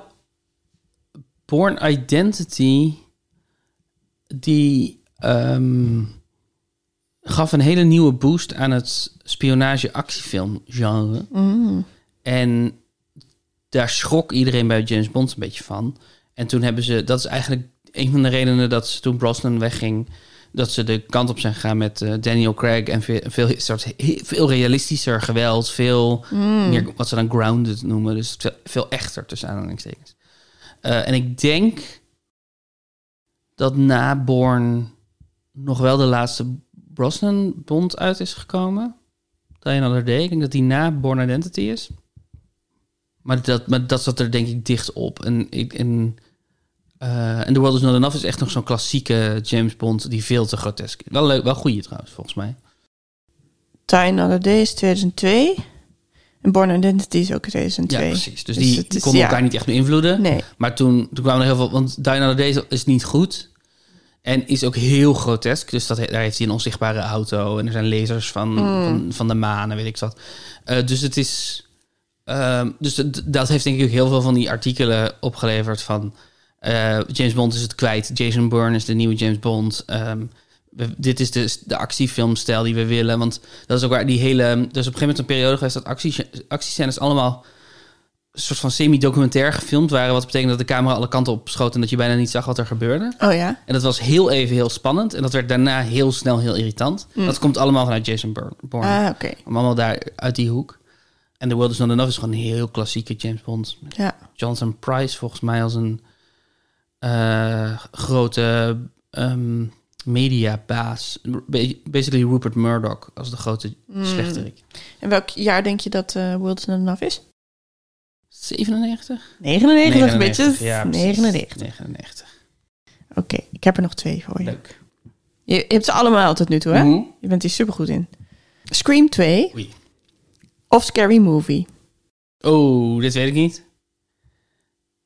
S1: Born Identity, die ehm, gaf een hele nieuwe boost aan het spionage-actiefilm-genre.
S2: Mm.
S1: En daar schrok iedereen bij James Bond een beetje van. En toen hebben ze, dat is eigenlijk een van de redenen dat ze toen Brosnan wegging, dat ze de kant op zijn gegaan met eh, Daniel Craig en veel, veel, soort, he- veel realistischer geweld, veel
S2: Mhm. Mm.
S1: meer wat ze dan grounded noemen, dus veel, veel echter tussen aanhalingstekens. Eh, en ik denk dat na Born nog wel de laatste Brosnan Bond uit is gekomen. Die Another Day. Ik denk dat die na Born Identity is. Maar dat, maar dat zat er denk ik dicht op. En, ik, en, eh, en The World Is Not Enough is echt nog zo'n klassieke James Bond die veel te grotesk is. Wel leuk, wel goeie trouwens, volgens mij.
S2: Die Another Day is 2002. En Born Identity is ook 2002.
S1: Ja, precies. Dus,
S2: Dus
S1: die
S2: het is-
S1: konden
S2: ja.
S1: elkaar niet echt beïnvloeden.
S2: Nee.
S1: Maar toen, toen kwamen er heel veel... Want Die Another Day is niet goed. En is ook heel grotesk. Dus dat, he- daar heeft hij een onzichtbare auto. En er zijn lasers van, van, van de maan en weet ik wat. Eh, dus het is... ehm, dus dat- dat heeft denk ik ook heel veel van die artikelen opgeleverd van... eh, James Bond is het kwijt. Jason Bourne is de nieuwe James Bond. Ehm, we- dit is de, de actiefilmstijl die we willen. Want dat is ook waar die hele... Er is op een gegeven moment een periode geweest dat actie, actiescènes allemaal een soort van semi-documentair gefilmd waren. Wat betekent dat de camera alle kanten op schoot en dat je bijna niet zag wat er gebeurde.
S2: Oh ja?
S1: En dat was heel even heel spannend. En dat werd daarna heel snel heel irritant. Dat komt allemaal vanuit Jason Bourne. Bourne.
S2: Mm. Ah, oké.
S1: Om Allemaal daar uit die hoek. En The World Is Not Enough is gewoon een heel klassieke James Bond. Met
S2: Ja.
S1: Johnson Price volgens mij als een eh, grote ehm mediabaas. Ba- Basically Rupert Murdoch als de grote
S2: Mm.
S1: slechterik.
S2: En welk jaar denk je dat eh World Is Not Enough is?
S1: 97?
S2: 99, bitches.
S1: 99, ja, precies.
S2: 99.
S1: 99.
S2: Oké, ik heb er nog twee voor je.
S1: Leuk.
S2: Je, je hebt ze allemaal tot nu toe, hè?
S1: Mhm.
S2: Je bent hier supergoed in. Scream 2
S1: Oei.
S2: of Scary Movie?
S1: Oh, dit weet ik niet.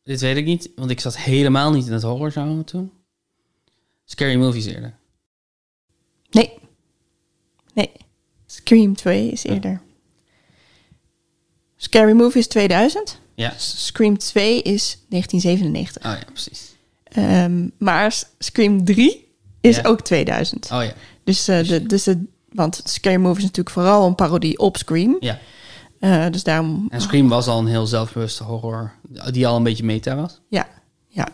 S1: Dit weet ik niet, want ik zat helemaal niet in het horrorgenre toen. Scary movies eerder.
S2: Nee. Nee. Scream 2 is eerder. Scary Movie is 2000.
S1: Ja.
S2: Scream 2 is 1997.
S1: Oh ja, precies.
S2: Ehm, maar S- Scream 3 is
S1: Ja.
S2: ook 2000.
S1: Oh ja,
S2: Dus, eh, de, dus de, want Scary Movie is natuurlijk vooral een parodie op Scream.
S1: ja.
S2: Eh, dus daarom...
S1: En Scream was al een heel zelfbewuste horror die al een beetje meta was.
S2: Ja, ja.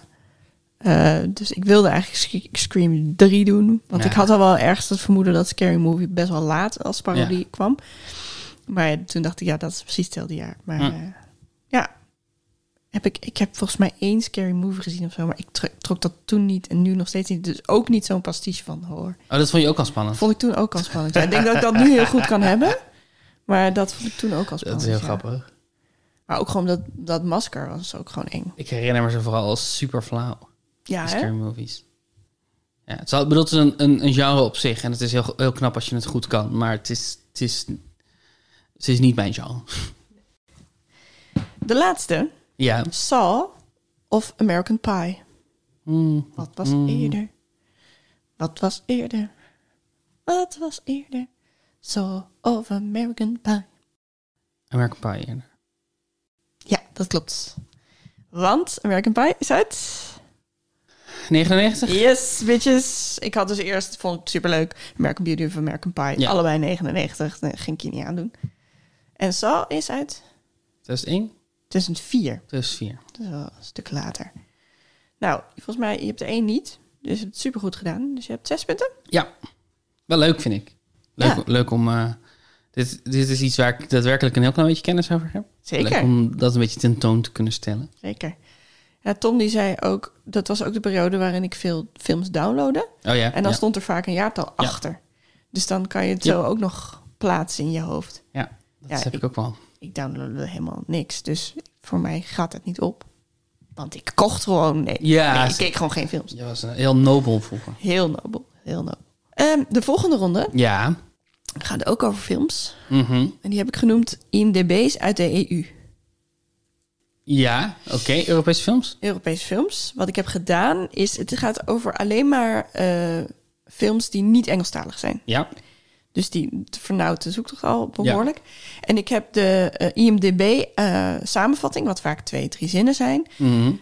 S2: Eh, dus ik wilde eigenlijk Sc- Scream 3 doen. Want
S1: Ja.
S2: ik had al wel ergens het vermoeden dat Scary Movie best wel laat als parodie
S1: Ja.
S2: kwam. Maar ja, toen dacht ik, ja, dat is precies hetzelfde jaar. Maar
S1: Hm.
S2: eh, ja, heb ik, ik heb volgens mij één Scary Movie gezien of zo. Maar ik tro- trok dat toen niet en nu nog steeds niet. Dus ook niet zo'n pastiche van hoor.
S1: Oh, dat vond je ook al spannend.
S2: Vond ik toen ook al spannend. Ja, ik denk dat ik dat nu heel goed kan hebben. Maar dat vond ik toen ook al spannend.
S1: Dat is heel
S2: Oh, ja.
S1: grappig.
S2: Maar ook gewoon dat, dat masker was ook gewoon eng.
S1: Ik herinner me ze vooral als super flauw.
S2: Ja,
S1: die
S2: hè?
S1: Scary movies. Ja, het is, al- ik bedoel, het is een, een, een genre op zich en het is heel, heel knap als je het goed kan, maar het is, het is, het is niet mijn genre.
S2: De laatste.
S1: Ja.
S2: Saw of American Pie?
S1: Hmm.
S2: Wat was eerder? Wat was eerder? Wat was eerder? Saw of American Pie?
S1: American Pie eerder.
S2: Ja, dat klopt. Want American Pie is uit.
S1: 99?
S2: Yes, bitches. Ik had dus eerst, vond ik superleuk, American Beauty of American Pie.
S1: Ja.
S2: Allebei 99, nee, ging ik je niet aandoen. En Saw is uit
S1: 2001?
S2: 2004.
S1: 2004.
S2: Dat is wel een stuk later. Nou, volgens mij, je hebt er één niet. Dus je hebt het supergoed gedaan. Dus je hebt zes punten.
S1: Ja, wel leuk vind ik. Leuk,
S2: Ja.
S1: leuk om... eh, dit, dit is iets waar ik daadwerkelijk een heel klein beetje kennis over heb.
S2: Zeker.
S1: Leuk om dat een beetje tentoon te kunnen stellen.
S2: Zeker. Ja, Tom die zei ook, dat was ook de periode waarin ik veel films downloadde.
S1: Oh ja.
S2: En dan
S1: ja.
S2: stond er vaak een jaartal
S1: Ja.
S2: achter. Dus dan kan je het
S1: Ja.
S2: zo ook nog plaatsen in je hoofd.
S1: Ja, dat
S2: Ja,
S1: heb ik
S2: ik-
S1: ook wel.
S2: Ik downloadde helemaal niks, dus voor mij gaat het niet op. Want ik kocht gewoon, nee,
S1: Ja,
S2: nee, ik
S1: ze-
S2: keek gewoon geen films.
S1: Je was eh, heel nobel vroeger.
S2: Heel nobel, heel nobel. Ehm, de volgende ronde
S1: Ja.
S2: gaat ook over films.
S1: Mhm.
S2: En die heb ik genoemd IMDB's uit de E EU.
S1: Ja, oké. Europese films?
S2: Europese films. Wat ik heb gedaan is, het gaat over alleen maar eh, films die niet Engelstalig zijn.
S1: Ja.
S2: Dus die vernauwt de zoektocht al behoorlijk. En ik heb de eh, IMDB eh, samenvatting, wat vaak twee, drie zinnen zijn,
S1: Mhm. Ah,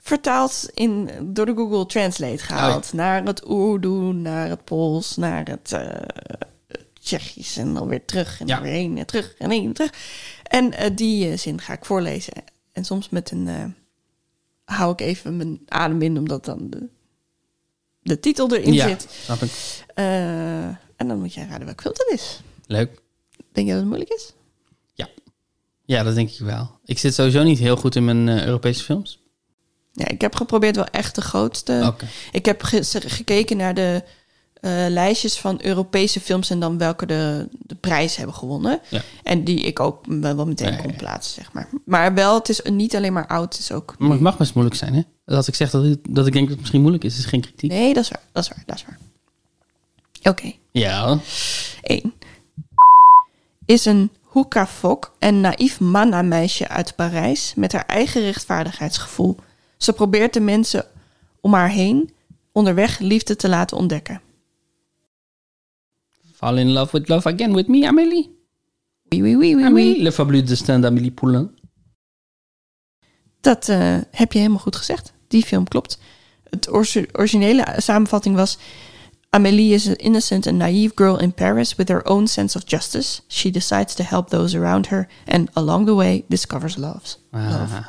S2: vertaald in, door de Google Translate gehaald. Naar het Urdu, naar het Pools, naar het eh, Tsjechisch en dan weer terug en
S1: Ja.
S2: dan weer heen en terug en heen en terug. En eh, die eh, zin ga ik voorlezen. En soms met een... eh, hou ik even mijn adem in, omdat dan de, de titel erin
S1: ja,
S2: zit.
S1: snap ik.
S2: Eh, en dan moet jij raden welk film dat is.
S1: Leuk.
S2: Denk je dat het moeilijk is?
S1: Ja, dat denk ik wel. Ik zit sowieso niet heel goed in mijn eh, Europese films.
S2: Ja, ik heb geprobeerd wel echt de grootste.
S1: Oké.
S2: Ik heb ge- ze- gekeken naar de eh, lijstjes van Europese films en dan welke de, de prijs hebben gewonnen.
S1: Ja.
S2: En die ik ook wel, wel meteen
S1: Ja, ja,
S2: kon
S1: ja.
S2: plaatsen, zeg maar. Maar wel, het is niet alleen maar oud, het is ook...
S1: Maar het mag best moeilijk zijn, hè? Dat ik zeg dat, dat ik denk dat het misschien moeilijk is, is geen kritiek.
S2: Nee, dat is waar, dat is waar, dat is waar. Oké,
S1: Ja.
S2: één. Is een hoekafok en naïef manna-meisje uit Parijs met haar eigen rechtvaardigheidsgevoel. Ze probeert de mensen om haar heen onderweg liefde te laten ontdekken.
S1: Fall in love with love again with me, Amélie.
S2: Wee, wee, wee, wee, wee.
S1: Amélie, le fabuleux destin d'Amélie Poulain.
S2: Dat eh, heb je helemaal goed gezegd. Die film klopt. Het orgi- originele samenvatting was... Amélie is an innocent and naive girl in Paris with her own sense of justice. She decides to help those around her and along the way discovers love.
S1: Ah.
S2: love.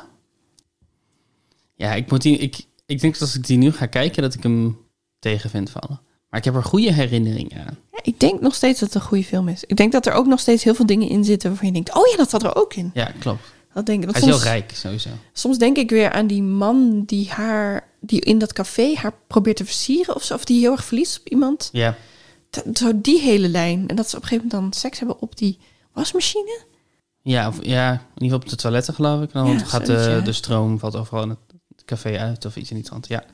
S1: Ja, ik, moet die, ik, ik denk dat als ik die nu ga kijken, dat ik hem tegen vind vallen. Maar ik heb er goede herinneringen aan.
S2: Ja, ik denk nog steeds dat het een goede film is. Ik denk dat er ook nog steeds heel veel dingen in zitten waarvan je denkt... Oh ja, dat zat er ook in.
S1: Ja, klopt.
S2: Dat denk ik. Want
S1: Hij is heel
S2: soms-
S1: rijk, sowieso.
S2: Soms denk ik weer aan die man die haar... die in dat café haar probeert te versieren of zo. Of die heel erg verliefd is op iemand.
S1: Ja.
S2: T- zo die hele lijn. En dat ze op een gegeven moment dan seks hebben op die wasmachine.
S1: Ja, of, ja, in ieder geval op de toiletten geloof ik. Dan
S2: Ja,
S1: want gaat
S2: zoiets,
S1: de,
S2: ja.
S1: de stroom valt overal in het café uit of iets in iets anders. Ja.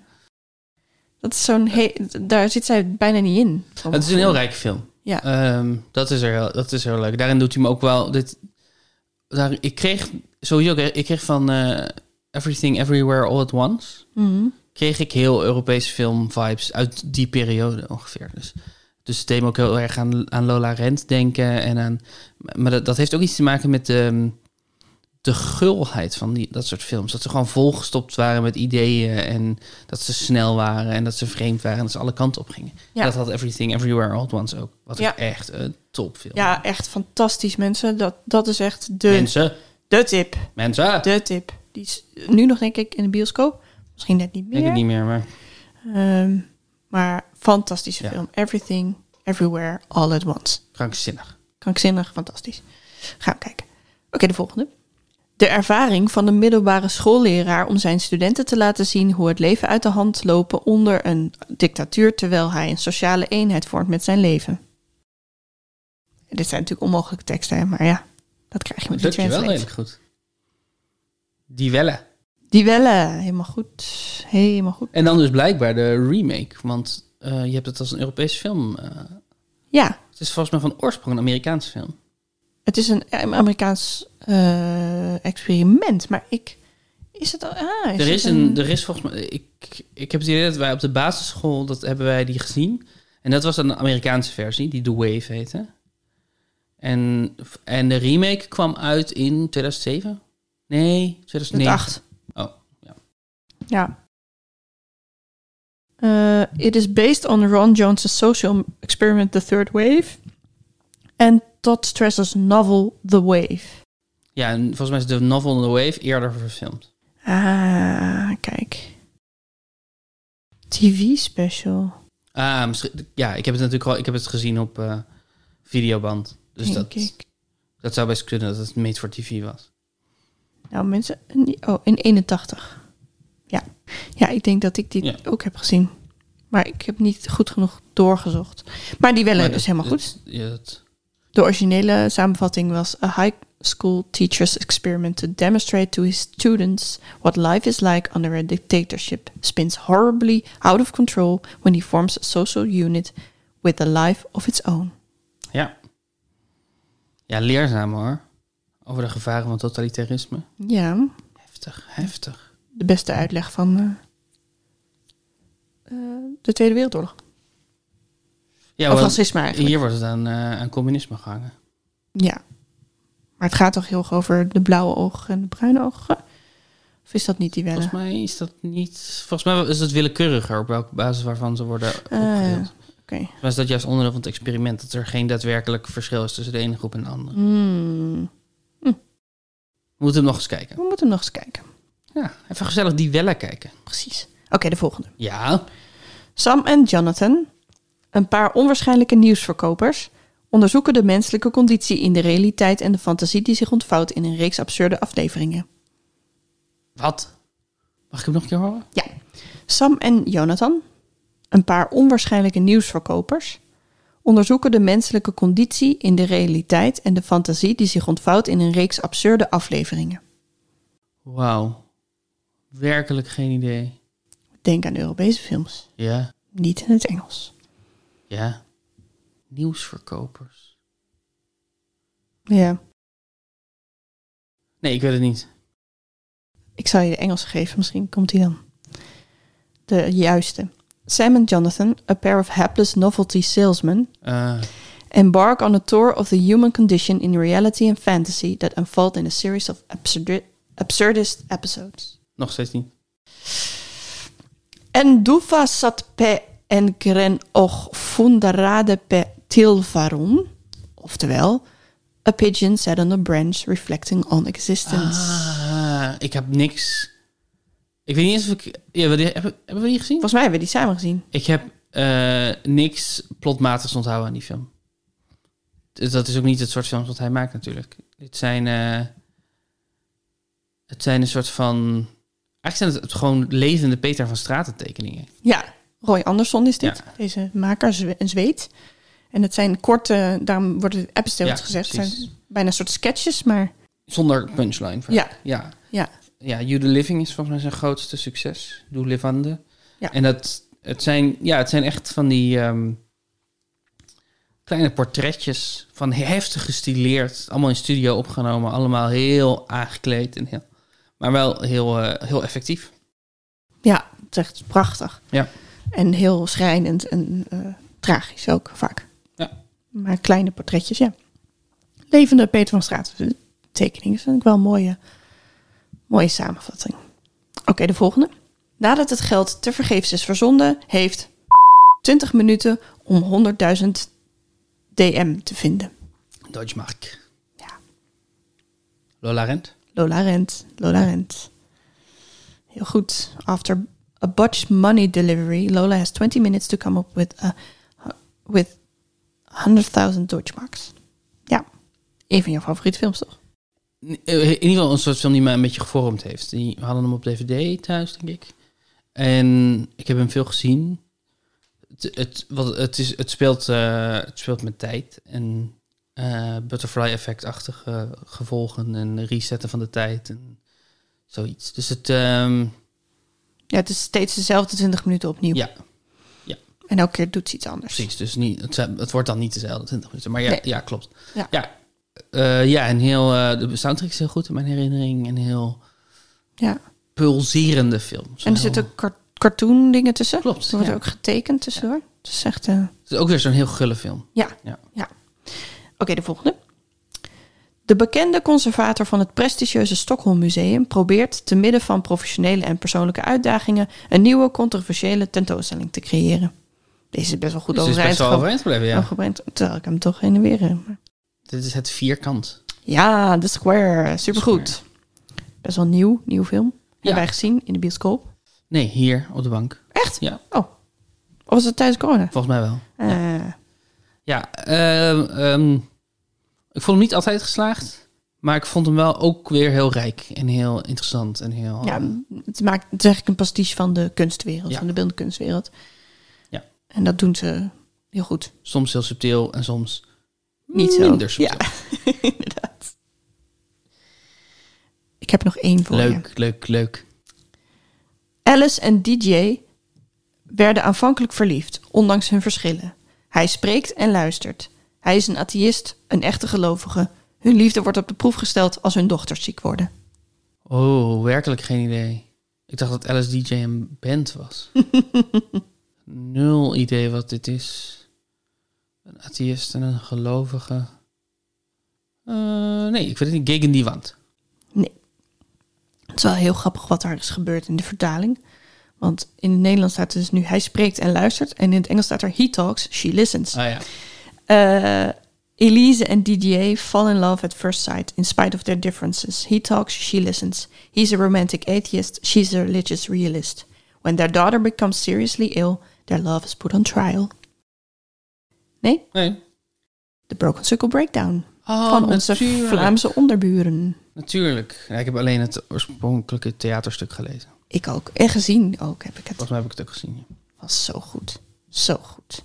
S2: Dat is zo'n he- daar zit zij bijna niet in. Van
S1: Het is een
S2: gevoel.
S1: heel rijke film.
S2: Ja.
S1: Ehm, dat, is er heel, dat is heel leuk. Daarin doet hij me ook wel... Dit, daar, ik kreeg sowieso ook, hè, ik kreeg van eh, Everything Everywhere All At Once...
S2: Mhm.
S1: kreeg ik heel Europese film vibes uit die periode ongeveer. Dus, dus het deed me ook heel erg aan, aan Lola Rent denken. En aan, maar dat, dat heeft ook iets te maken met de, de gulheid van die, dat soort films. Dat ze gewoon volgestopt waren met ideeën. En dat ze snel waren. En dat ze vreemd waren. En dat ze alle kanten op gingen.
S2: Ja.
S1: Dat had Everything Everywhere All At Once ook. Wat
S2: Ja.
S1: ik echt een topfilm.
S2: ja, echt fantastisch mensen. Dat, dat is echt de,
S1: Mensen,
S2: de tip.
S1: mensen.
S2: De tip. Die is nu nog denk ik in de bioscoop. Misschien net niet
S1: Ik denk
S2: meer.
S1: het niet meer, maar
S2: Ehm, maar fantastische
S1: Ja.
S2: film. Everything, Everywhere, All at Once.
S1: krankzinnig.
S2: Krankzinnig, fantastisch. Gaan we kijken. Oké, de volgende. De ervaring van de middelbare schoolleraar om zijn studenten te laten zien hoe het leven uit de hand lopen onder een dictatuur terwijl hij een sociale eenheid vormt met zijn leven. Dit zijn natuurlijk onmogelijke teksten, hè, maar ja, dat krijg je
S1: Dat
S2: met de
S1: lukt je wel
S2: translate.
S1: redelijk goed. Die wellen.
S2: Die wellen, helemaal goed, helemaal goed.
S1: En dan dus blijkbaar de remake, want eh, je hebt het als een Europese film. eh,
S2: Ja,
S1: het is volgens mij van oorsprong een Amerikaanse film.
S2: het is een Amerikaans eh, experiment, maar ik... Is het al... Ah, is
S1: er,
S2: het
S1: is een, er is volgens mij, ik, ik heb het idee dat wij op de basisschool, dat hebben wij die gezien. En dat was dan een Amerikaanse versie, die The Wave heette. En, en de remake kwam uit in 2007? Nee, 2009.
S2: 2008.
S1: Oh, ja.
S2: Ja. Uh, it is based on Ron Jones' social experiment The Third Wave en Todd Strasser's novel The Wave.
S1: Ja, en volgens mij is de novel The Wave eerder verfilmd.
S2: Ah, kijk. TV special.
S1: Ah, misschien, ja, ik heb het natuurlijk al, ik heb het gezien op eh, videoband. Dus
S2: denk
S1: dat,
S2: ik.
S1: Dat zou best kunnen dat het made for TV was.
S2: Nou mensen, in- oh, in 81. Ja. ja, ik denk dat ik dit
S1: Ja.
S2: ook heb gezien. Maar ik heb niet goed genoeg doorgezocht. Maar die wel
S1: Maar
S2: is
S1: dat-
S2: helemaal goed.
S1: dat- ja, dat-
S2: De originele samenvatting was: A high school teacher's experiment to demonstrate to his students what life is like under a dictatorship spins horribly out of control when he forms a social unit with a life of its own.
S1: ja. ja, leerzaam hoor. Over de gevaren van totalitarisme.
S2: Ja,
S1: Heftig, heftig.
S2: de beste uitleg van eh, eh, de Tweede Wereldoorlog.
S1: Ja,
S2: of
S1: wel,
S2: racisme eigenlijk.
S1: hier wordt het aan, eh, aan communisme gehangen.
S2: Ja. Maar het gaat toch heel erg over de blauwe ogen en de bruine ogen? Of is dat niet die welle?
S1: Volgens mij is dat niet... Volgens mij is dat willekeuriger op welke basis waarvan ze worden
S2: Ah, ja.
S1: opgedeeld.
S2: Oké.
S1: Maar is dat juist onderdeel van het experiment? Dat er geen daadwerkelijk verschil is tussen de ene groep en de andere.
S2: Hmm.
S1: We moeten hem nog eens kijken.
S2: We moeten hem nog eens kijken.
S1: Ja, even gezellig die wellen kijken.
S2: Precies. Oké, de volgende.
S1: Ja,
S2: Sam en Jonathan, een paar onwaarschijnlijke nieuwsverkopers, onderzoeken de menselijke conditie in de realiteit en de fantasie die zich ontvouwt in een reeks absurde afleveringen.
S1: wat? Mag ik hem nog een keer horen?
S2: Ja, Sam en Jonathan, een paar onwaarschijnlijke nieuwsverkopers, onderzoeken de menselijke conditie in de realiteit en de fantasie die zich ontvouwt in een reeks absurde afleveringen.
S1: Wauw. Werkelijk geen idee.
S2: Denk aan Europese films,
S1: Ja,
S2: niet in het Engels.
S1: ja. Nieuwsverkopers.
S2: Ja,
S1: Nee, ik weet het niet.
S2: Ik zal je de Engelse geven, misschien komt die dan. De juiste. Sam and Jonathan, a pair of hapless novelty salesmen,
S1: Eh,
S2: embark on a tour of the human condition in reality and fantasy that unfold in a series of absurdi- absurdist episodes.
S1: nog steeds niet.
S2: En dufa sat pe en gren och fundarade pe tilvaron, oftewel, a pigeon sat on a branch reflecting on existence.
S1: Ah, ik heb niks. Ik weet niet eens of ik... Ja, wat- hebben, hebben we die gezien?
S2: Volgens mij hebben we die samen gezien.
S1: Ik heb eh, niks plotmatigs onthouden aan die film. Dus Dat is ook niet het soort films wat hij maakt natuurlijk. Het zijn, eh, het zijn een soort van... Eigenlijk zijn het gewoon levende Peter van Straten tekeningen.
S2: Ja, Roy Andersson is dit.
S1: Ja.
S2: Deze maker, Zwe- een Zweed. En het zijn korte, daarom worden het episodes
S1: Ja,
S2: gezegd. Het
S1: precies.
S2: zijn bijna een soort sketches, maar
S1: Zonder punchline.
S2: ja,
S1: Ja.
S2: Ja.
S1: Ja, You The Living is volgens mij zijn grootste succes. Doe Livande.
S2: Ja.
S1: En dat, het, zijn, ja, het zijn echt van die ehm, kleine portretjes van heftig gestileerd. Allemaal in studio opgenomen. Allemaal heel aangekleed. En heel, maar wel heel, eh, heel effectief.
S2: ja, het is echt prachtig.
S1: Ja.
S2: En heel schrijnend en eh, tragisch ook vaak.
S1: Ja.
S2: Maar kleine portretjes, ja. Levende Peter van Straat tekeningen vind ik wel een mooie, mooie samenvatting. Oké, de volgende. Nadat het geld tevergeefs is verzonden, heeft 20 minuten om 100.000 DM te vinden.
S1: Deutsche Mark.
S2: Ja.
S1: Lola Rent.
S2: Lola Rent, Lola Rent. Heel goed. After a botched money delivery, Lola has 20 minutes to come up with a, with 100.000 Deutschmarks. Ja, een van jouw favoriete films toch?
S1: eh, In ieder geval een soort film die mij een beetje gevormd heeft. Die we hadden hem op DVD thuis, denk ik. En ik heb hem veel gezien. Het, het, wat, het, is, het, speelt, eh, het speelt met tijd. En eh, butterfly effect-achtige gevolgen en resetten van de tijd en zoiets. Dus het, ehm,
S2: Ja, het is steeds dezelfde 20 minuten opnieuw.
S1: ja,
S2: En elke keer doet ze iets anders.
S1: precies. Dus niet, het, zijn- het wordt dan niet dezelfde 20 minuten. Maar ja,
S2: Nee.
S1: ja klopt.
S2: Ja.
S1: ja. Eh, ja, en heel, eh, de soundtrack is heel goed in mijn herinnering. Een heel
S2: Ja.
S1: pulserende film. Zo'n
S2: En er
S1: heel-
S2: zitten ook car- cartoon dingen tussen.
S1: Klopt,
S2: Er wordt
S1: ja.
S2: ook getekend tussendoor. Het is echt... eh,
S1: Het is ook weer zo'n heel gulle film.
S2: Ja.
S1: Ja.
S2: ja. Oké, de volgende. De bekende conservator van het prestigieuze Stockholm Museum probeert te midden van professionele en persoonlijke uitdagingen een nieuwe controversiële tentoonstelling te creëren. Deze is best wel goed
S1: Dus het is
S2: overeind
S1: best wel
S2: ge-
S1: overeind gebleven, ja.
S2: overeind, terwijl ik hem toch heen en weer. eh, maar-
S1: Dit is het vierkant.
S2: Ja, The Square, supergoed. Best wel nieuw, nieuw film.
S1: Ja.
S2: Hebben wij gezien in de bioscoop.
S1: Nee, hier op de bank.
S2: Echt?
S1: Ja.
S2: Oh. Of was het tijdens corona?
S1: Volgens mij wel.
S2: Eh,
S1: Ja, ehm, ehm, ik vond hem niet altijd geslaagd. Maar ik vond hem wel ook weer heel rijk en heel interessant. En heel, eh,
S2: Ja, het maakt het is eigenlijk een pastiche van de kunstwereld,
S1: Oh. Ja.
S2: van de beeldkunstwereld.
S1: Ja.
S2: En dat doen ze heel goed.
S1: soms heel subtiel en soms
S2: Niet zo.
S1: minder subtiel.
S2: Ja, [LAUGHS] inderdaad. Ik heb nog één voor je.
S1: leuk, leuk, leuk.
S2: Alice en DJ werden aanvankelijk verliefd, ondanks hun verschillen. Hij spreekt en luistert. Hij is een atheïst, een echte gelovige. Hun liefde wordt op de proef gesteld als hun dochters ziek worden.
S1: Oh, werkelijk geen idee. Ik dacht dat Alice DJ een band
S2: [LAUGHS]
S1: was. Nul idee wat dit is. Een atheïst en een gelovige. Eh, nee, ik weet het niet. Gegen die wand.
S2: Het is wel heel grappig wat daar is gebeurd in de vertaling. Want in het Nederlands staat dus nu hij spreekt en luistert. En in het Engels staat er he talks, she listens.
S1: Ah ja.
S2: Eh, Elise en Didier fall in love at first sight, in spite of their differences. He talks, she listens. He's a romantic atheist, she's a religious realist. When their daughter becomes seriously ill, their love is put on trial. Nee,
S1: Nee.
S2: The Broken Circle Breakdown
S1: Oh,
S2: van onze
S1: natuurlijk.
S2: Vlaamse onderburen.
S1: Natuurlijk. Ja, ik heb alleen het oorspronkelijke theaterstuk gelezen.
S2: Ik ook. En gezien ook heb ik het.
S1: Volgens mij heb ik het ook gezien. ja.
S2: was zo goed. Zo goed. Ik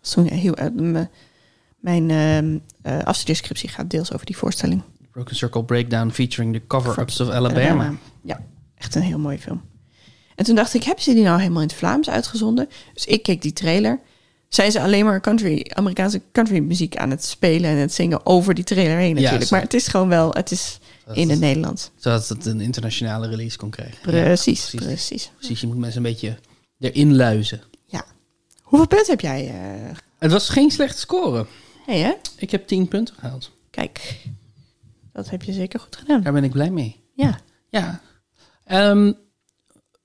S2: was toen heel... eh, m- mijn ehm, eh, afstudeerscriptie gaat deels over die voorstelling.
S1: Broken Circle Breakdown featuring the cover-ups of Alabama.
S2: Eh, Ja, echt een heel mooie film. En toen dacht ik, hebben ze die nou helemaal in het Vlaams uitgezonden? Dus ik keek die trailer. Zijn ze alleen maar country, Amerikaanse country muziek aan het spelen en het zingen over die trailer
S1: Ja,
S2: heen natuurlijk.
S1: zo.
S2: maar het is gewoon wel, het is
S1: Dat
S2: in
S1: is-
S2: het Nederlands.
S1: Zodat het een internationale release kon krijgen. Ja,
S2: Precies,
S1: precies.
S2: precies.
S1: Precies, je moet mensen een beetje erin luizen.
S2: Ja. Hoeveel punten heb jij? eh
S1: Het was geen slechte score.
S2: hey, hè?
S1: Ik heb 10 punten gehaald.
S2: Kijk, dat heb je zeker goed gedaan.
S1: Daar ben ik blij mee.
S2: Ja,
S1: Ja. Ehm,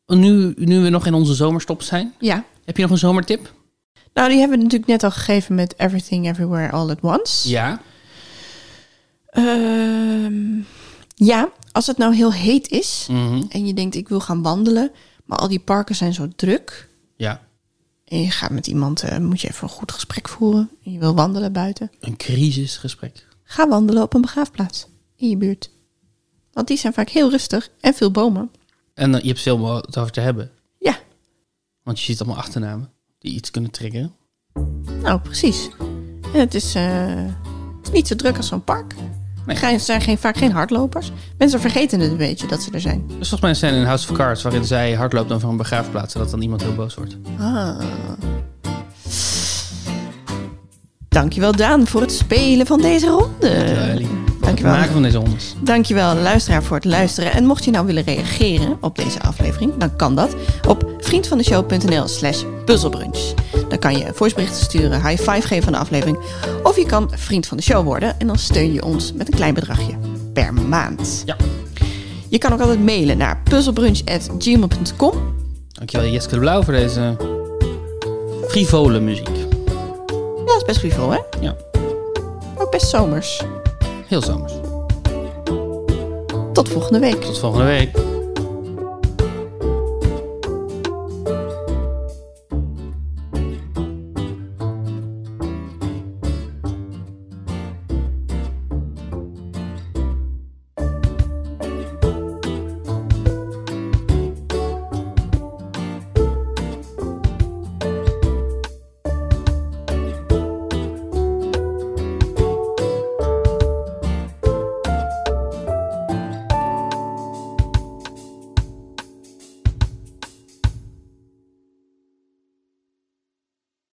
S1: nu, nu we nog in onze zomerstop zijn,
S2: ja.
S1: heb je nog een zomertip?
S2: Nou, die hebben we natuurlijk net al gegeven met Everything Everywhere All at Once.
S1: Ja.
S2: Ehm, ja, als het nou heel heet is
S1: Mhm.
S2: en je denkt ik wil gaan wandelen, maar al die parken zijn zo druk.
S1: Ja.
S2: En je gaat met iemand, eh, moet je even een goed gesprek voeren. En je wil wandelen buiten.
S1: Een crisisgesprek.
S2: Ga wandelen op een begraafplaats in je buurt. Want die zijn vaak heel rustig en veel bomen.
S1: En eh, je hebt veel meer het over te hebben.
S2: Ja,
S1: Want je ziet allemaal achternamen die iets kunnen triggeren.
S2: nou precies. En het is eh, niet zo druk als zo'n park.
S1: Nee.
S2: Er zijn geen, vaak geen hardlopers. Mensen vergeten het een beetje dat ze er zijn.
S1: Dus volgens mij zijn er in House of Cards waarin zij hardloopt dan van een begraafplaats en dat dan iemand heel boos wordt.
S2: Ah. Dankjewel Daan voor het spelen van deze
S1: Dankjewel,
S2: ronde.
S1: Ellie. Voor het
S2: dankjewel.
S1: Eh, maken van deze honderd.
S2: Dankjewel luisteraar voor het luisteren. En mocht je nou willen reageren op deze aflevering, dan kan dat op vriendvandeshow.nl slash puzzelbrunch. Dan kan je voiceberichten sturen, high five geven van de aflevering. Of je kan vriend van de show worden en dan steun je ons met een klein bedragje per maand.
S1: Ja.
S2: Je kan ook altijd mailen naar puzzelbrunch.gmail.com.
S1: Dankjewel Jeske de Blauw voor deze frivole muziek.
S2: Ja, dat is best frivol hè?
S1: Ja,
S2: Ook best zomers.
S1: heel zomers.
S2: Tot volgende week.
S1: Tot volgende week.